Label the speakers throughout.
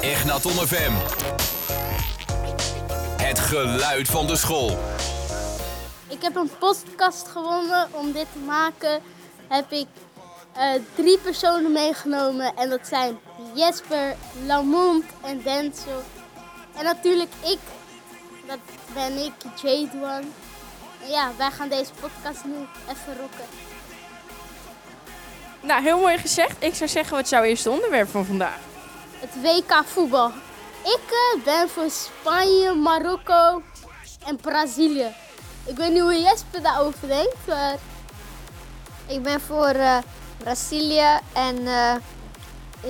Speaker 1: Egnaton FM. Het geluid van de school.
Speaker 2: Ik heb een podcast gewonnen. Om dit te maken heb ik eh, drie personen meegenomen. En dat zijn Jesper, Lamont en Denzel. En natuurlijk ik. Dat ben ik, Jade One. En ja, wij gaan deze podcast nu even rocken.
Speaker 3: Nou, heel mooi gezegd. Ik zou zeggen, wat is jouw eerste onderwerp van vandaag?
Speaker 2: Het WK voetbal. Ik eh, ben voor Spanje, Marokko en Brazilië. Ik weet niet hoe Jesper daarover denkt, eh, maar...
Speaker 4: Ik ben voor eh, Brazilië en eh,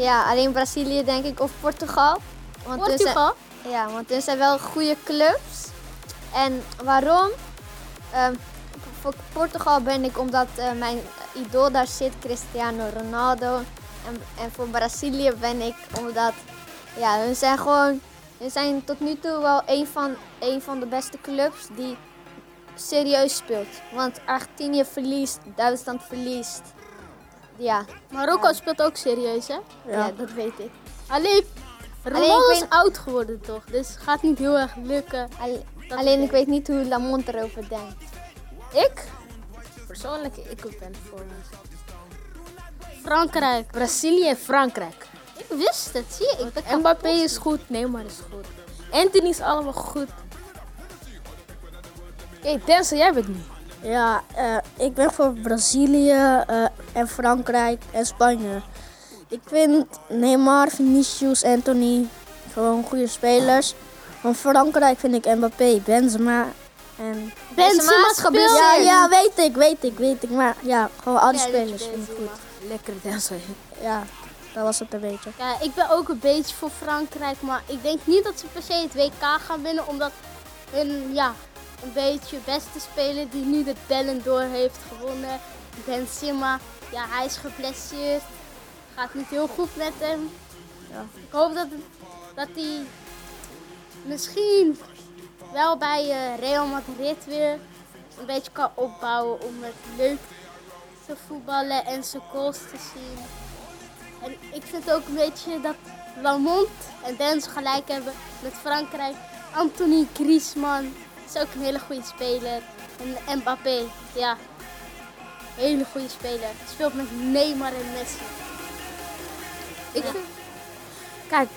Speaker 4: ja, alleen Brazilië denk ik of Portugal. Want dus, eh, hun zijn-
Speaker 2: Portugal?
Speaker 4: ja, want er zijn wel goede clubs. En waarom? Ehm, voor Portugal ben ik omdat eh, mijn idool daar zit, Cristiano Ronaldo. En, en voor Brazilië ben ik omdat ja, hun zijn gewoon, hun zijn tot nu toe wel een van, een van de beste clubs die serieus speelt. Want Argentinië verliest, Duitsland verliest. Ja,
Speaker 2: Marokko speelt ook serieus, hè?
Speaker 4: ja. dat weet ik.
Speaker 2: Alleen, Ronaldo
Speaker 4: Alleen, ik
Speaker 2: is
Speaker 4: weet-
Speaker 2: oud geworden toch? Dus het gaat niet heel erg lukken.
Speaker 4: Al-
Speaker 2: Dat
Speaker 4: alleen
Speaker 2: weet
Speaker 4: ik weet niet hoe Lamont erover denkt.
Speaker 5: Ik? Persoonlijk, ik ben voor
Speaker 2: Frankrijk.
Speaker 5: Brazilië en Frankrijk.
Speaker 2: Ik wist het, zie je. Ik ben
Speaker 5: Mbappé is goed, Neymar is goed. Anthony is allemaal goed. Oké, Denzel, jij bent nu.
Speaker 6: Ja, eh, ik ben voor Brazilië eh, en Frankrijk en Spanje. Ik vind Neymar, Vinicius, Anthony gewoon goede spelers. Van Frankrijk vind ik Mbappé, Benzema en...
Speaker 2: Benzema speelt.
Speaker 6: Ja, ja, weet ik, weet ik, weet ik. Maar ja, gewoon alle
Speaker 2: Ja, dat is
Speaker 6: spelers vind ik
Speaker 2: Benzema.
Speaker 6: goed.
Speaker 5: Lekker Denzel.
Speaker 6: Ja, dat was het een beetje.
Speaker 2: Ja, ik ben ook een beetje voor Frankrijk, maar ik denk niet dat ze per se het WK gaan winnen, omdat hun, ja, een beetje beste speler die nu de Ballon d'Or heeft gewonnen, Benzema, ja, hij is geblesseerd, gaat niet heel goed met hem. Ik hoop dat, dat hij misschien wel bij eh, Real Madrid weer een beetje kan opbouwen om het leuk te voetballen en zijn goals te zien. En ik vind ook een beetje dat Lamont en Dens gelijk hebben met Frankrijk. Anthony Griezmann is ook een hele goede speler. En Mbappé, ja. Hele goede speler. Speelt met Neymar en Messi.
Speaker 5: Ik vind... Kijk,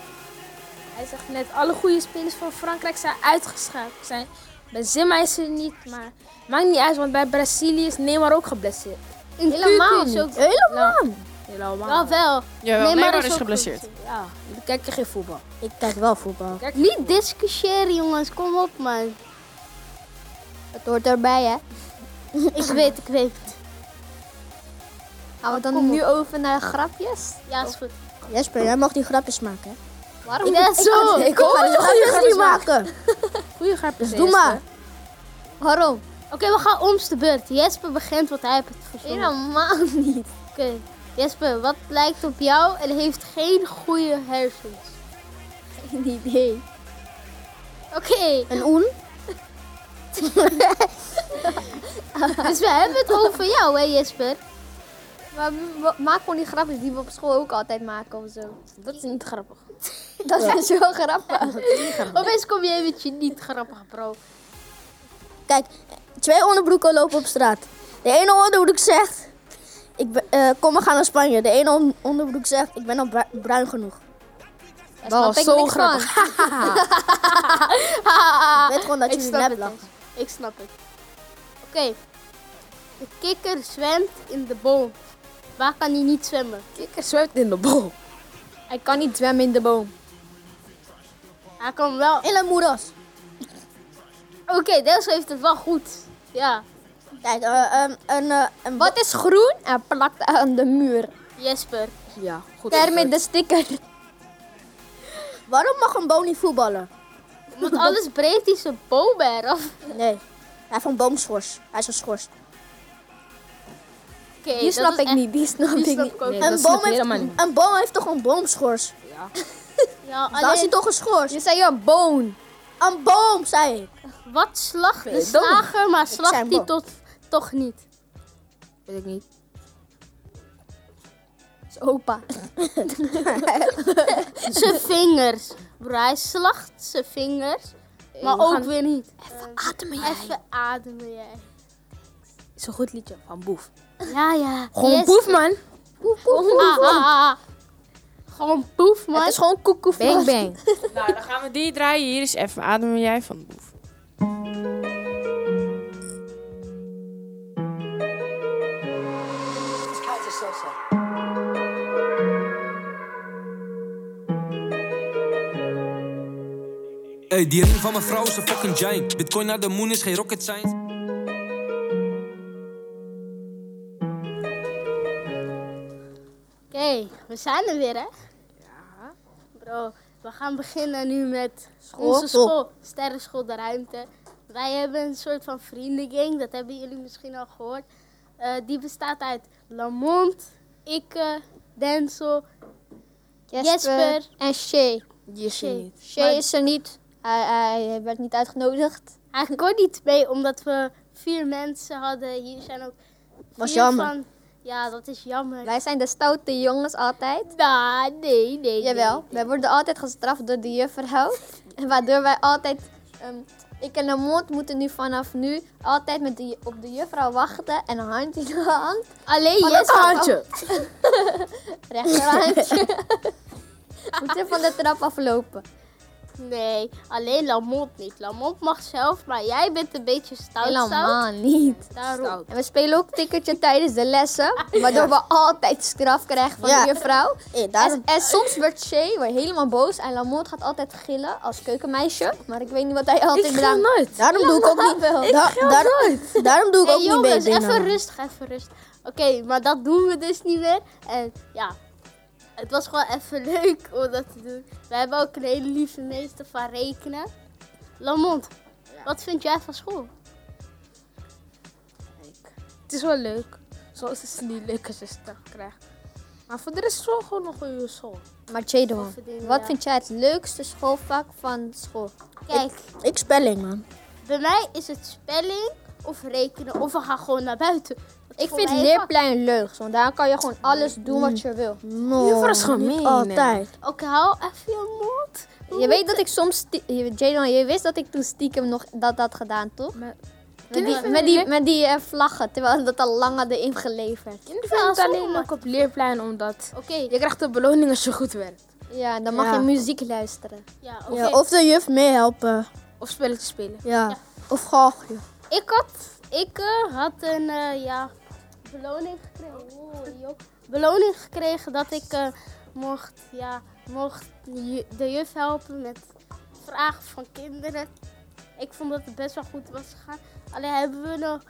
Speaker 5: hij zegt net, alle goede spelers van Frankrijk zijn uitgeschakeld. Zijn. Bij Zimma is er niet, maar maakt niet uit, want bij Brazilië is Neymar ook geblesseerd.
Speaker 2: En
Speaker 5: Helemaal
Speaker 2: Kuku is
Speaker 5: niet.
Speaker 2: ook...
Speaker 5: Helemaal. Helemaal.
Speaker 2: Wel, wel.
Speaker 3: Jawel, Neymar,
Speaker 2: Neymar is
Speaker 3: is,
Speaker 2: ook
Speaker 3: geblesseerd.
Speaker 5: Ja, dan kijk je geen voetbal.
Speaker 6: Ik kijk wel voetbal.
Speaker 5: Kijk,
Speaker 2: Niet discussiëren jongens, kom op man.
Speaker 4: Het hoort erbij, hè?
Speaker 2: ik weet, ik weet. het.
Speaker 4: Gaan we dan
Speaker 2: kom
Speaker 4: nu over naar grapjes?
Speaker 2: Ja, is goed.
Speaker 6: Jesper, jij mag die grapjes maken. hè?
Speaker 4: Waarom
Speaker 2: Ik ben zo.
Speaker 6: Ik hoop dat Oh, grapjes niet maken.
Speaker 5: goede grapjes.
Speaker 6: Doe maar.
Speaker 4: Waarom?
Speaker 2: Oké, we gaan om's de beurt. Jesper begint, want hij heeft het verzonnen.
Speaker 4: Helemaal niet.
Speaker 2: Oké, Jesper, wat lijkt op jou en heeft geen goede hersens?
Speaker 4: Geen idee.
Speaker 2: Oké,
Speaker 6: Een oen?
Speaker 2: dus we hebben het over jou, hè Jesper?
Speaker 4: Maar we- maak gewoon die grapjes die we op school ook altijd maken of zo.
Speaker 5: Dat is niet grappig.
Speaker 4: Dat is dus wel grappig.
Speaker 2: Opeens kom jij met je niet grappig, bro.
Speaker 6: Kijk, twee onderbroeken lopen op straat. De ene onderbroek zegt, ik ben, eh, kom we gaan naar Spanje. De ene on- onderbroek zegt, ik ben al bru- bruin genoeg.
Speaker 4: Daar snap ik
Speaker 5: zo
Speaker 4: niks van.
Speaker 6: Ik weet gewoon dat
Speaker 2: Ah, ik
Speaker 6: jullie
Speaker 2: snap
Speaker 6: nep
Speaker 2: het.
Speaker 6: lachen.
Speaker 2: Jens. Ik snap het. Oké, de kikker zwemt in de boom. Waar kan hij niet zwemmen?
Speaker 5: Kikker zwemt in de boom. Hij kan niet zwemmen in de boom.
Speaker 2: Hij kan wel.
Speaker 6: In de moeras.
Speaker 2: Oké, Dels heeft het wel goed. Ja,
Speaker 6: Kijk, eh, ehm, een, eh, een
Speaker 4: Wat is groen en plakt aan de muur?
Speaker 2: Jesper.
Speaker 5: Ja, goed.
Speaker 4: Termit de sticker.
Speaker 6: waarom mag een boom niet voetballen?
Speaker 2: Want alles breekt hij zijn boom eraf.
Speaker 6: Nee, hij heeft een boomschors. Hij is een schors.
Speaker 2: Oké,
Speaker 4: Die
Speaker 2: dat
Speaker 4: snap
Speaker 2: is
Speaker 4: ik
Speaker 2: echt-
Speaker 4: niet, die snap
Speaker 2: Die
Speaker 4: ik
Speaker 2: snap
Speaker 4: niet.
Speaker 2: ik ook.
Speaker 5: Nee,
Speaker 2: niet.
Speaker 5: dat
Speaker 6: een,
Speaker 5: snap
Speaker 6: boom
Speaker 5: ik
Speaker 6: heeft,
Speaker 5: helemaal niet.
Speaker 6: een boom heeft toch een boomschors?
Speaker 2: Ja,
Speaker 6: Daar is hij
Speaker 2: alleen-
Speaker 6: toch een schors?
Speaker 4: Je zei ja, boon.
Speaker 6: Een boom, zei ik.
Speaker 2: Wat slacht de
Speaker 5: Verdomme.
Speaker 2: slager, maar slacht
Speaker 6: zijn
Speaker 2: hij
Speaker 6: bang.
Speaker 2: tot, toch niet?
Speaker 5: Weet ik niet.
Speaker 4: Dus Opa.
Speaker 2: zijn vingers. Bro, hij slacht zijn vingers. Maar
Speaker 5: we
Speaker 2: ook
Speaker 5: gaan-
Speaker 2: weer niet.
Speaker 5: Ademen
Speaker 2: Even ademen jij.
Speaker 5: Is een goed liedje van Boef.
Speaker 2: Ja, ja.
Speaker 5: Gewoon
Speaker 2: Yes.
Speaker 5: Boef, man.
Speaker 2: Poef, poef, ah, ah, ah. Gewoon poef, man.
Speaker 5: Het is gewoon koekoe.
Speaker 4: Bang bang.
Speaker 3: Nou, dan gaan we die draaien. Hier is even ademen jij van de boef.
Speaker 7: Ey, die ring van mijn vrouw is een fucking giant. Bitcoin naar de moon is geen rocket science.
Speaker 2: Oké, we zijn er weer, hè? Ja. Bro, we gaan beginnen nu met onze school, Sterrenschool de Ruimte. Wij hebben een soort van vriendengang, dat hebben jullie misschien al gehoord. Eh, die bestaat uit Lamont, Ikke, Denzel. Jesper.
Speaker 4: en Shay.
Speaker 3: Je ziet
Speaker 2: Shay.
Speaker 3: niet.
Speaker 4: Shay is er niet. Hij, hij werd niet uitgenodigd.
Speaker 2: Hij kon niet mee, omdat we vier mensen hadden. Hier zijn ook
Speaker 6: Was
Speaker 2: vier
Speaker 6: jammer.
Speaker 2: van- Ja, dat is jammer.
Speaker 4: Wij zijn de stoute jongens altijd.
Speaker 2: Nah, nee, nee.
Speaker 4: Jawel, wij worden altijd gestraft door de juffrouw. En Waardoor wij altijd, ehm, ik en Lamont moeten nu vanaf nu altijd met de, ju- op de juffrouw wachten. En een hand in de hand,
Speaker 2: Alleen
Speaker 4: Oh, dat is
Speaker 2: Jesper.
Speaker 4: een handje. rechterhandje. moeten van de trap aflopen.
Speaker 2: Nee, alleen Lamont niet. Lamont mag zelf, maar jij bent een beetje stout. stout.
Speaker 4: Helemaal niet.
Speaker 2: Daarom.
Speaker 4: En we spelen ook tikkertje tijdens de lessen. Waardoor we altijd straf krijgen van
Speaker 6: Ja.
Speaker 4: de juffrouw.
Speaker 6: Hey,
Speaker 4: En,
Speaker 6: Eh, daarom,
Speaker 4: en soms wordt Shay wordt helemaal boos. En Lamont gaat altijd gillen als keukenmeisje. Maar ik weet niet wat hij altijd bedankt.
Speaker 5: nooit.
Speaker 6: daarom doe ik ook niet
Speaker 4: wel.
Speaker 6: da- daar- daarom doe ik
Speaker 2: Hey,
Speaker 6: ook niet mee.
Speaker 2: jongens, even
Speaker 6: binnen.
Speaker 2: rustig, even rustig. Oké, maar dat doen we dus niet meer. En ja, het was gewoon even leuk om dat te doen. We hebben ook een hele lieve meester van rekenen. Lamont, wat vind jij van school?
Speaker 5: Het is wel leuk. Zoals het is niet leuk als je straf krijgt. Maar voor de rest is het gewoon een goede school.
Speaker 4: Maar Jadon,
Speaker 2: Overdenken,
Speaker 4: wat
Speaker 2: ja.
Speaker 4: vind jij het leukste schoolvak van school?
Speaker 2: Kijk,
Speaker 6: Ik spelling, man.
Speaker 2: bij mij is het spelling of rekenen of we gaan gewoon naar buiten. Dat is
Speaker 4: Ik
Speaker 2: voor
Speaker 4: vind
Speaker 2: mij een vak.
Speaker 4: leerplein leuk, want daar kan je gewoon alles doen wat je wil.
Speaker 6: No,
Speaker 5: Juffrouw is gemeen,
Speaker 6: niet
Speaker 5: hè?
Speaker 6: altijd.
Speaker 2: Oké, hou even je mond.
Speaker 4: Je weet dat ik soms, stie- je- Jadon, je wist dat ik toen stiekem nog dat had gedaan, toch?
Speaker 5: Maar-
Speaker 4: Met die, met die, met die eh, vlaggen, terwijl dat al lang hadden ingeleverd.
Speaker 5: Kinderen
Speaker 2: Ja,
Speaker 5: vinden het alleen
Speaker 2: sommigen.
Speaker 5: leuk op leerplein omdat
Speaker 2: Oké,
Speaker 5: je krijgt een beloning als je goed werkt.
Speaker 4: Ja, dan mag
Speaker 5: Ja.
Speaker 4: je muziek luisteren.
Speaker 2: ja, oké.
Speaker 6: Ja, of de juf meehelpen.
Speaker 5: Of spelletjes spelen.
Speaker 6: Ja. Of galgje.
Speaker 2: Ik had, ik eh, had een eh, ja, beloning gekregen. Oh, joh. Beloning gekregen dat ik eh, mocht, ja, mocht ju- de juf helpen met vragen van kinderen. Ik vond dat het best wel goed was gegaan. Alleen hebben we nog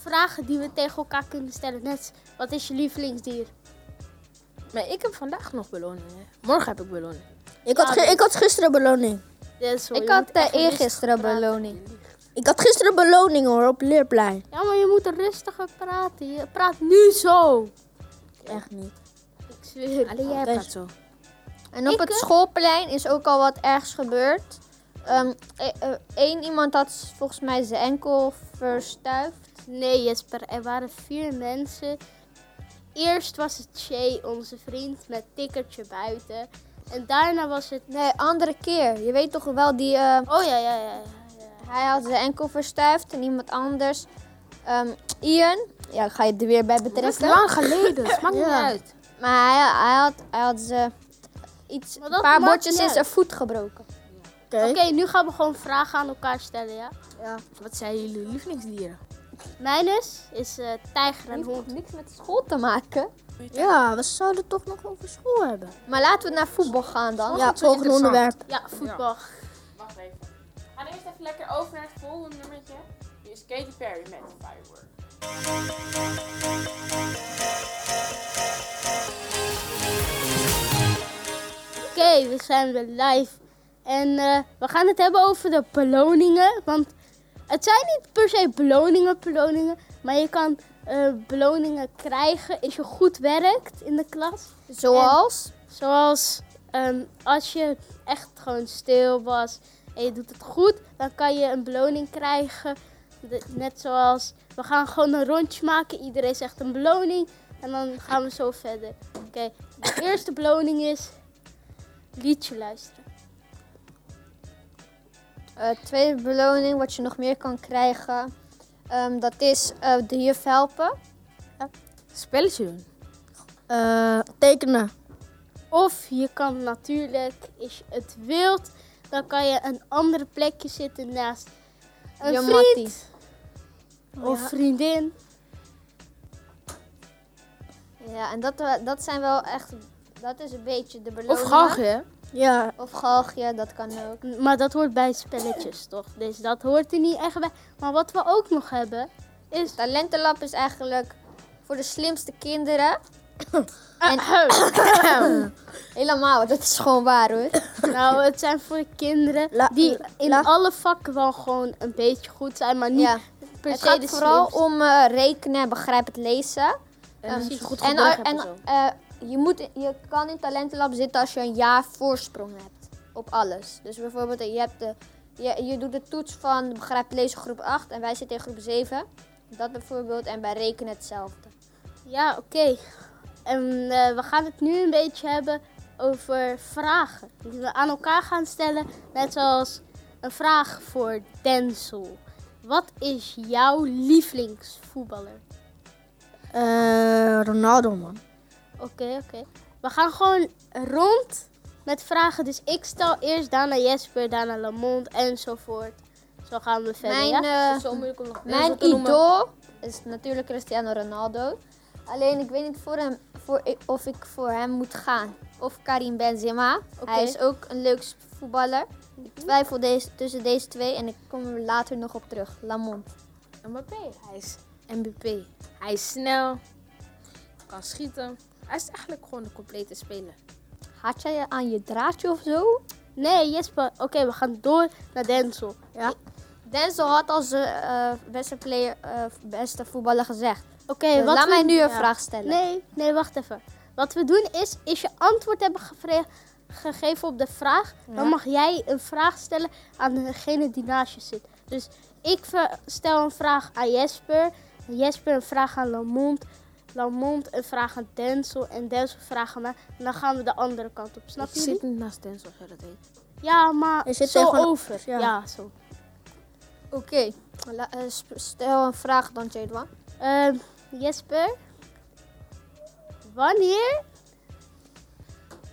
Speaker 2: vragen die we tegen elkaar kunnen stellen. Net, wat is je lievelingsdier?
Speaker 5: Maar ik heb vandaag nog beloning. Hè. Morgen heb ik beloning.
Speaker 6: Ik had, ge- ik had gisteren beloning.
Speaker 2: Dus, hoor,
Speaker 4: ik
Speaker 2: je
Speaker 4: had
Speaker 2: moet echt
Speaker 4: eh, eergisteren
Speaker 2: rustig praten.
Speaker 4: beloning.
Speaker 6: Ik had gisteren beloning hoor, op leerplein.
Speaker 2: Ja, maar je moet rustiger praten. Je praat nu zo.
Speaker 6: Echt niet.
Speaker 2: Ik zweer.
Speaker 5: Alleen jij
Speaker 6: Oké.
Speaker 5: praat zo.
Speaker 4: En op
Speaker 2: Ik,
Speaker 4: het
Speaker 2: eh,
Speaker 4: schoolplein is ook al wat ergs gebeurd. Ehm, Eén iemand had volgens mij zijn enkel verstuift.
Speaker 2: Nee, Jesper, er waren vier mensen. Eerst was het Shay, onze vriend, met tikkertje buiten. En daarna was het.
Speaker 4: Nee, andere keer. Je weet toch wel, die, eh,
Speaker 2: Oh ja, ja, ja. ja, ja.
Speaker 4: hij had zijn enkel verstuift en iemand anders. Ehm, Ian, ja, ik ga je er weer bij
Speaker 5: Dat is
Speaker 4: betrekken.
Speaker 5: lang geleden. Het maakt niet uit.
Speaker 4: Maar hij, hij had, hij had ze iets,
Speaker 2: Maar
Speaker 4: een
Speaker 2: dat
Speaker 4: paar
Speaker 2: maakt
Speaker 4: bordjes
Speaker 2: niet
Speaker 4: in
Speaker 2: uit.
Speaker 4: zijn voet gebroken.
Speaker 6: Oké.
Speaker 2: Oké, nu gaan we gewoon vragen aan elkaar stellen, ja?
Speaker 5: Wat zijn jullie lievelingsdieren?
Speaker 2: Mijn is, is eh, tijger en
Speaker 4: Heeft
Speaker 2: hond.
Speaker 4: toch niks met school te maken.
Speaker 6: Ja, we zouden toch nog over school hebben.
Speaker 4: Maar laten we naar voetbal gaan dan.
Speaker 6: Ja, volgende
Speaker 5: interessant.
Speaker 6: onderwerp.
Speaker 2: Ja, voetbal.
Speaker 3: Wacht even. Ga eerst even lekker over naar het volgende nummertje. Hier is Katy Perry met Firework.
Speaker 2: Oké, we zijn weer live. En eh, we gaan het hebben over de beloningen. Want het zijn niet per se beloningen, beloningen. Maar je kan eh, beloningen krijgen als je goed werkt in de klas.
Speaker 4: Zoals?
Speaker 2: Zoals ehm, als je echt gewoon stil was en je doet het goed, dan kan je een beloning krijgen. De- net zoals we gaan gewoon een rondje maken. Iedereen zegt een beloning en dan gaan we zo verder. Oké, de eerste beloning is liedje luisteren?
Speaker 4: Eh, tweede beloning, wat je nog meer kan krijgen, ehm, dat is eh, de juf helpen.
Speaker 5: Spelletje doen.
Speaker 6: Eh, tekenen.
Speaker 2: Of je kan natuurlijk, als je het wilt, dan kan je een andere plekje zitten naast een
Speaker 4: Je
Speaker 2: vriend
Speaker 4: mattie.
Speaker 2: of vriendin.
Speaker 4: Ja, en dat, we- dat zijn wel echt, dat is een beetje de beloning.
Speaker 5: Of galgen.
Speaker 6: Ja,
Speaker 4: Of galgje, dat kan ook.
Speaker 2: Maar dat hoort bij spelletjes toch? Dus dat hoort er niet echt bij. Maar wat we ook nog hebben, is...
Speaker 4: Talentenlab is eigenlijk voor de slimste kinderen. Helemaal, dat is gewoon waar hoor.
Speaker 2: nou, het zijn voor kinderen
Speaker 6: La-
Speaker 2: die in
Speaker 6: la-
Speaker 2: alle vakken wel gewoon een beetje goed zijn, maar niet
Speaker 4: Ja.
Speaker 2: per
Speaker 4: het
Speaker 2: se
Speaker 4: gaat
Speaker 2: de
Speaker 4: vooral
Speaker 2: slimste.
Speaker 4: om eh, rekenen en begrijpend lezen.
Speaker 5: En
Speaker 4: Ehm,
Speaker 5: als je goed
Speaker 4: en
Speaker 5: gedrag
Speaker 4: al-
Speaker 5: hebt en zo.
Speaker 4: en, eh, je, moet, je kan in talentenlab zitten als je een jaar voorsprong hebt op alles. Dus bijvoorbeeld, eh, je, hebt de, je, je doet de toets van begrijpend lezen groep 8 en wij zitten in groep 7. Dat bijvoorbeeld, en bij rekenen hetzelfde.
Speaker 2: Ja, oké. En eh, we gaan het nu een beetje hebben over vragen. Die we aan elkaar gaan stellen. Net zoals een vraag voor Denzel. Wat is jouw lievelingsvoetballer?
Speaker 6: eh, Ronaldo man.
Speaker 2: Oké, oké. We gaan gewoon rond met vragen. Dus ik stel eerst daarna Jesper, daarna Lamont enzovoort. Zo gaan we verder.
Speaker 4: Mijn,
Speaker 2: ja?
Speaker 4: eh,
Speaker 5: Zo moeilijk om nog
Speaker 4: Mijn idool is natuurlijk Cristiano Ronaldo. Alleen ik weet niet voor hem, voor, of ik voor hem moet gaan. Of Karim Benzema.
Speaker 2: Oké.
Speaker 4: Hij is ook een leuk sp- voetballer. Ik
Speaker 5: Mhm.
Speaker 4: twijfel deze, tussen deze twee en ik kom er later nog op terug. Lamont.
Speaker 5: MVP. Hij is MVP. Hij is snel. Kan schieten. Hij is eigenlijk gewoon de complete speler.
Speaker 4: Had jij aan je draadje of zo?
Speaker 2: Nee, Jesper. Oké, we gaan door naar Denzel.
Speaker 4: Denzel had als eh, eh, beste, player, eh, beste voetballer gezegd.
Speaker 2: Oké,
Speaker 4: Dus
Speaker 2: wat
Speaker 4: laat
Speaker 2: we-
Speaker 4: mij nu een
Speaker 2: Ja.
Speaker 4: vraag stellen.
Speaker 2: Nee, nee, wacht even. Wat we doen is, is je antwoord hebben gevre- gegeven op de vraag. Dan mag jij een vraag stellen aan degene die naast je zit. Dus ik ver- stel een vraag aan Jesper. Jesper een vraag aan Lamont. Lamont een vraag aan Denzel. En Denzel een vraag aan mij. En dan gaan we de andere kant op. Snap
Speaker 5: Ik
Speaker 2: je?
Speaker 5: zit niet naast Denzel, hè, dat weet ik.
Speaker 2: Ja, maar
Speaker 6: Hij zit
Speaker 2: zo
Speaker 6: tegen-
Speaker 2: over. Ja,
Speaker 6: ja.
Speaker 2: zo.
Speaker 4: Oké, La- eh, sp- stel een vraag dan, Jadwan.
Speaker 2: Ehm, Jesper, wanneer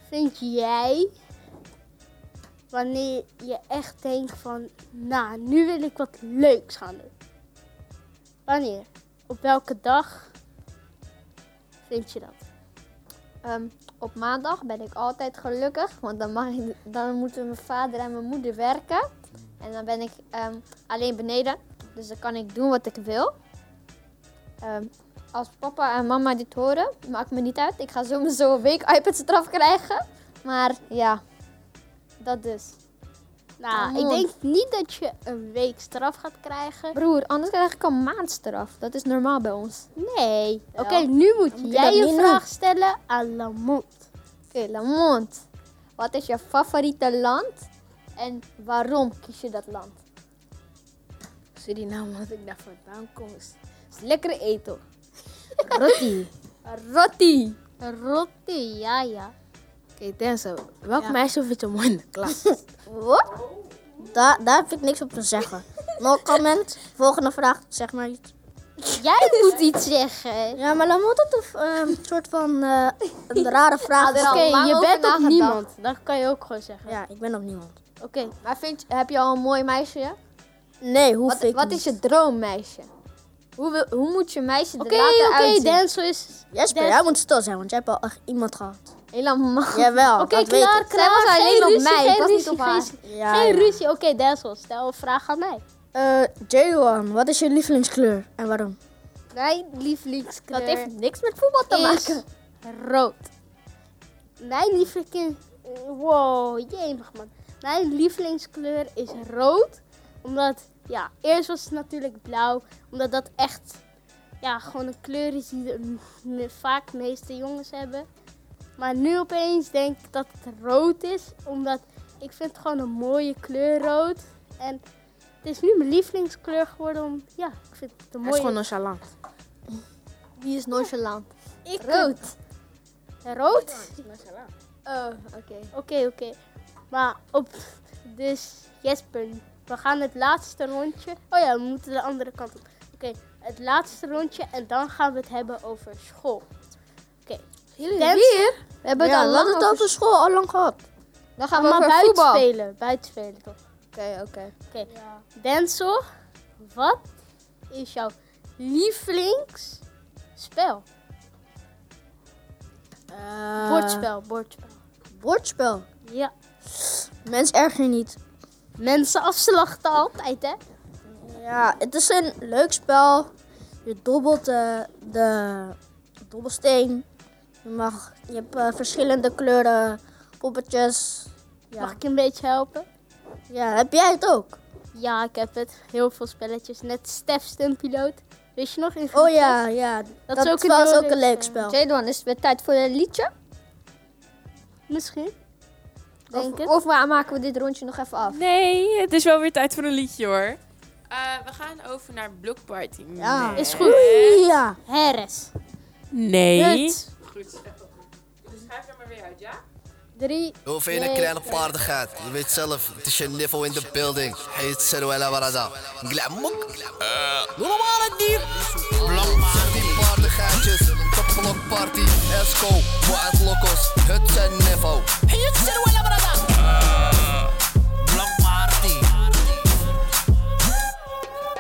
Speaker 2: vind jij, wanneer je echt denkt van, nou, nu wil ik wat leuks gaan doen? Wanneer? Op welke dag vind je dat?
Speaker 4: Ehm, op maandag ben ik altijd gelukkig, want dan, mag ik, dan moeten mijn vader en mijn moeder werken. En dan ben ik ehm, alleen beneden, dus dan kan ik doen wat ik wil. Ehm, als papa en mama dit horen, maakt me niet uit. Ik ga sowieso een week iPad-straf krijgen. Maar ja, dat dus.
Speaker 2: Nou, ik
Speaker 4: Ramon.
Speaker 2: denk niet dat je een week straf gaat krijgen.
Speaker 4: Broer, anders krijg ik een maandstraf. Dat is normaal bij ons.
Speaker 2: Nee. Oké,
Speaker 4: Ja.
Speaker 2: nu moet
Speaker 6: ik
Speaker 2: jij
Speaker 6: dat
Speaker 2: een
Speaker 6: niet
Speaker 2: vraag stellen aan Lamont.
Speaker 4: Oké, Lamont. Wat is je favoriete land? En waarom kies je dat land?
Speaker 5: Suriname, wat Nou, ik daar vandaan kom, is, is lekkere eten. Rotti. Oké,
Speaker 4: Rotti!
Speaker 2: Rotti, ja, ja.
Speaker 5: Denzel, welk meisje vind je mooi in de klas?
Speaker 6: Wat? Daar, daar heb ik niks op te zeggen. No comment. Volgende vraag, zeg maar iets.
Speaker 2: Jij moet iets zeggen.
Speaker 6: Ja, maar dan moet het een eh, soort van eh, een rare vraag
Speaker 4: Oké,
Speaker 2: Oké,
Speaker 6: stellen.
Speaker 4: lang
Speaker 2: je
Speaker 4: over
Speaker 2: bent op
Speaker 4: nagedacht.
Speaker 2: niemand. Dat kan je ook gewoon zeggen.
Speaker 6: Ja, ik ben nog niemand.
Speaker 2: Oké,
Speaker 4: Maar vind, je- heb je al een mooi meisje?
Speaker 6: Nee, hoef
Speaker 4: Wat,
Speaker 6: ik
Speaker 4: wat
Speaker 6: niet.
Speaker 4: is je droommeisje? Hoe, wil- hoe moet je meisje er
Speaker 2: oké,
Speaker 4: later
Speaker 2: oké,
Speaker 4: uitzien?
Speaker 2: Denzel is...
Speaker 6: Jesper,
Speaker 2: Des-
Speaker 6: jij moet stil zijn, want jij hebt al echt iemand gehad.
Speaker 4: Helemaal.
Speaker 6: Jawel,
Speaker 2: Oké,
Speaker 6: dat
Speaker 2: klaar,
Speaker 6: weet ik.
Speaker 2: klaar.
Speaker 4: Zij was alleen
Speaker 2: geen
Speaker 4: op
Speaker 2: ruzie,
Speaker 4: mij,
Speaker 2: geen
Speaker 4: ik was niet
Speaker 2: ruzie,
Speaker 4: op haar.
Speaker 2: Geen,
Speaker 6: Ja,
Speaker 2: geen
Speaker 6: ja.
Speaker 2: ruzie. Oké, Denzel, stel een vraag aan mij.
Speaker 6: Eh, J1, wat is je lievelingskleur en waarom?
Speaker 2: Mijn lievelingskleur
Speaker 4: Dat heeft niks met voetbal te
Speaker 2: is
Speaker 4: maken.
Speaker 2: rood. Mijn lievelingskleur... Wow, jemig man. Mijn lievelingskleur is rood. Omdat, ja, eerst was het natuurlijk blauw. Omdat dat echt, ja, gewoon een kleur is die de, me- vaak de meeste jongens hebben. Maar nu opeens denk ik dat het rood is. Omdat ik vind het gewoon een mooie kleur rood. En het is nu mijn lievelingskleur geworden. Om, ja, ik vind het een
Speaker 5: Hij is
Speaker 2: mooie
Speaker 5: gewoon nonchalant.
Speaker 4: Wie is nonchalant?
Speaker 2: Ik-
Speaker 4: Rood.
Speaker 2: Rood?
Speaker 4: Oh, oké.
Speaker 2: Eh, Oké, oké. Maar op, dus Jesper, we gaan het laatste rondje. Oh ja, we moeten de andere kant op. Oké, het laatste rondje en dan gaan we het hebben over school. Oké. Jullie weer?
Speaker 4: We hebben het al
Speaker 6: laat
Speaker 4: lang
Speaker 6: het
Speaker 4: over...
Speaker 6: over school al lang gehad.
Speaker 4: Dan gaan we
Speaker 2: maar
Speaker 4: over
Speaker 2: buiten
Speaker 4: voetbal. Oké,
Speaker 2: spelen, buiten spelen toch?
Speaker 4: oké.
Speaker 2: Oké. Denzel, wat is jouw lievelingsspel?
Speaker 6: Eh,
Speaker 2: Bordspel, bordspel.
Speaker 6: Bordspel.
Speaker 2: Ja.
Speaker 6: Mens erger niet.
Speaker 2: Mensen afslachten altijd, hè?
Speaker 6: Ja, het is een leuk spel. Je dobbelt eh, de dobbelsteen. Je, mag, je hebt eh, verschillende kleuren poppetjes. Ja.
Speaker 2: Mag ik een beetje helpen?
Speaker 6: Ja, heb jij het ook?
Speaker 2: Ja, ik heb het. Heel veel spelletjes. Net Stef Stumpiloot. Wist je nog? In
Speaker 6: Oh
Speaker 2: groepjes?
Speaker 6: ja, ja. Dat,
Speaker 2: is ook een
Speaker 6: was
Speaker 2: heel
Speaker 6: ook een
Speaker 2: leuk
Speaker 6: leuk spel.
Speaker 4: Jadon, is het weer tijd voor een liedje?
Speaker 2: Misschien. Denk
Speaker 4: Of,
Speaker 2: het.
Speaker 4: of we maken we dit rondje nog even af?
Speaker 8: Nee, het is wel weer tijd voor een liedje hoor.
Speaker 3: Eh, we gaan over naar Blockparty.
Speaker 6: Ja.
Speaker 2: Is goed.
Speaker 6: Ja.
Speaker 2: Heres.
Speaker 8: Nee.
Speaker 2: Het.
Speaker 3: Goed zo. Dus schrijf er maar weer uit, ja?
Speaker 2: Drie.
Speaker 9: Hoe vind je een kleine paardigheid? Je weet zelf, het is je niveau in de building. Heet Seruela Barada. Glamok. Normale dier. Blok maar die paardigheidjes. Topblok party. Esco. Waard locos. Het zijn niveau. Heet Seruela Barada. Blok maar die.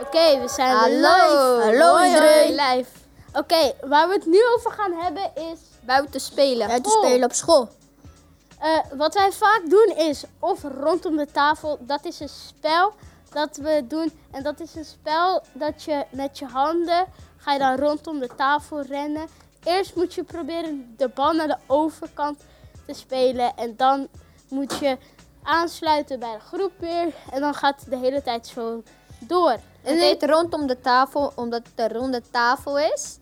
Speaker 2: Oké, we zijn live.
Speaker 4: Hallo
Speaker 2: Hoi,
Speaker 4: iedereen.
Speaker 2: hoi, Live. Oké, waar we het nu over gaan hebben is...
Speaker 4: Buiten spelen.
Speaker 6: Buiten
Speaker 2: Oh.
Speaker 6: spelen op school.
Speaker 2: eh, wat wij vaak doen is, of rondom de tafel, dat is een spel dat we doen. En dat is een spel dat je met je handen, ga je dan rondom de tafel rennen. Eerst moet je proberen de bal naar de overkant te spelen. En dan moet je aansluiten bij de groep weer. En dan gaat het de hele tijd zo door.
Speaker 4: Het heet rondom de tafel, omdat het een ronde tafel is.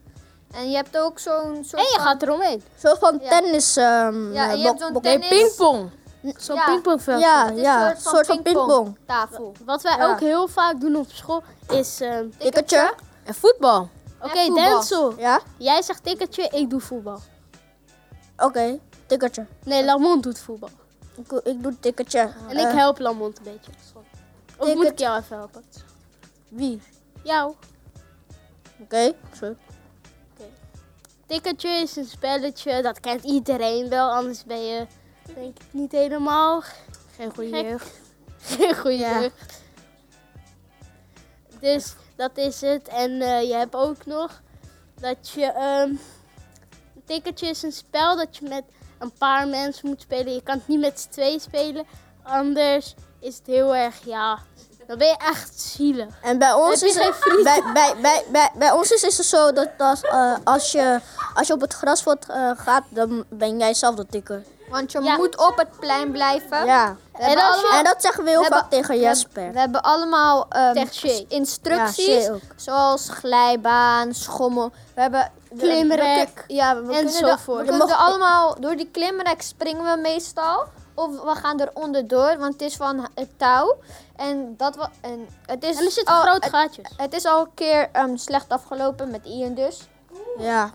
Speaker 4: En je hebt ook zo'n soort
Speaker 2: En je
Speaker 4: van-
Speaker 2: gaat eromheen.
Speaker 6: Zo van
Speaker 4: Ja.
Speaker 6: tennis. ehm
Speaker 4: Ja, en
Speaker 6: eh,
Speaker 4: je hebt
Speaker 6: bok-
Speaker 4: zo'n
Speaker 6: bok-
Speaker 4: tennis...
Speaker 5: Pingpong. Zo'n
Speaker 4: Ja.
Speaker 5: pingpongveld.
Speaker 6: Ja,
Speaker 4: Het is
Speaker 6: ja. Een soort van pingpong.
Speaker 4: tafel.
Speaker 2: Wat wij
Speaker 6: Ja.
Speaker 2: ook heel vaak doen op school is... ehm,
Speaker 6: Tikkertje.
Speaker 5: En voetbal.
Speaker 2: Oké,
Speaker 4: voetbal.
Speaker 2: Denzel,
Speaker 6: Ja?
Speaker 2: jij zegt tikkertje, ik doe voetbal.
Speaker 6: Oké. Tikkertje.
Speaker 2: Nee, Lamont doet voetbal.
Speaker 6: Ik, ik doe tikkertje.
Speaker 2: En ik
Speaker 6: Eh,
Speaker 2: help Lamont een beetje. Of moet ik
Speaker 6: Tikkert-
Speaker 2: jou even helpen?
Speaker 6: Wie?
Speaker 2: Jou.
Speaker 6: Oké. Zo.
Speaker 2: Tikkertje is een spelletje, dat kent iedereen wel, anders ben je denk ik niet helemaal
Speaker 5: Geen goede
Speaker 2: Gek.
Speaker 5: jeugd.
Speaker 2: geen goede
Speaker 6: Ja.
Speaker 2: jeugd. Dus dat is het. En eh, je hebt ook nog dat je. ehm een tikkertje is een spel dat je met een paar mensen moet spelen. Je kan het niet met z'n twee spelen. Anders is het heel erg, ja. Dan ben je echt zielig.
Speaker 6: En bij ons,
Speaker 2: Heb
Speaker 6: is
Speaker 2: je geen
Speaker 6: het, bij, bij, bij, bij, bij ons is, is het dus zo dat, dat eh, als, je, als je op het grasveld eh, gaat, dan ben jij zelf de tikker.
Speaker 4: Want je
Speaker 2: Ja.
Speaker 4: moet op het plein blijven.
Speaker 6: Ja.
Speaker 4: En als je-
Speaker 6: en dat zeggen we heel
Speaker 4: we
Speaker 6: vaak
Speaker 4: hebben-
Speaker 6: tegen Jasper.
Speaker 4: We hebben allemaal ehm,
Speaker 2: Tegen Shay.
Speaker 6: Ja,
Speaker 4: instructies,
Speaker 6: Shay ook.
Speaker 4: zoals glijbaan, schommel. We hebben we-
Speaker 2: Klimrek
Speaker 4: we kun- ja, we kunnen de-
Speaker 2: enzovoort.
Speaker 4: we
Speaker 2: Je
Speaker 4: kunnen
Speaker 6: mag-
Speaker 4: er allemaal door die klimrek springen we meestal, of we gaan eronder door, want het is van het touw. En dat wa- en het is
Speaker 2: En er zitten
Speaker 6: Oh,
Speaker 4: al,
Speaker 2: grote
Speaker 4: het,
Speaker 2: gaatjes.
Speaker 4: het is al een keer ehm, slecht afgelopen met Ian dus.
Speaker 6: Ja.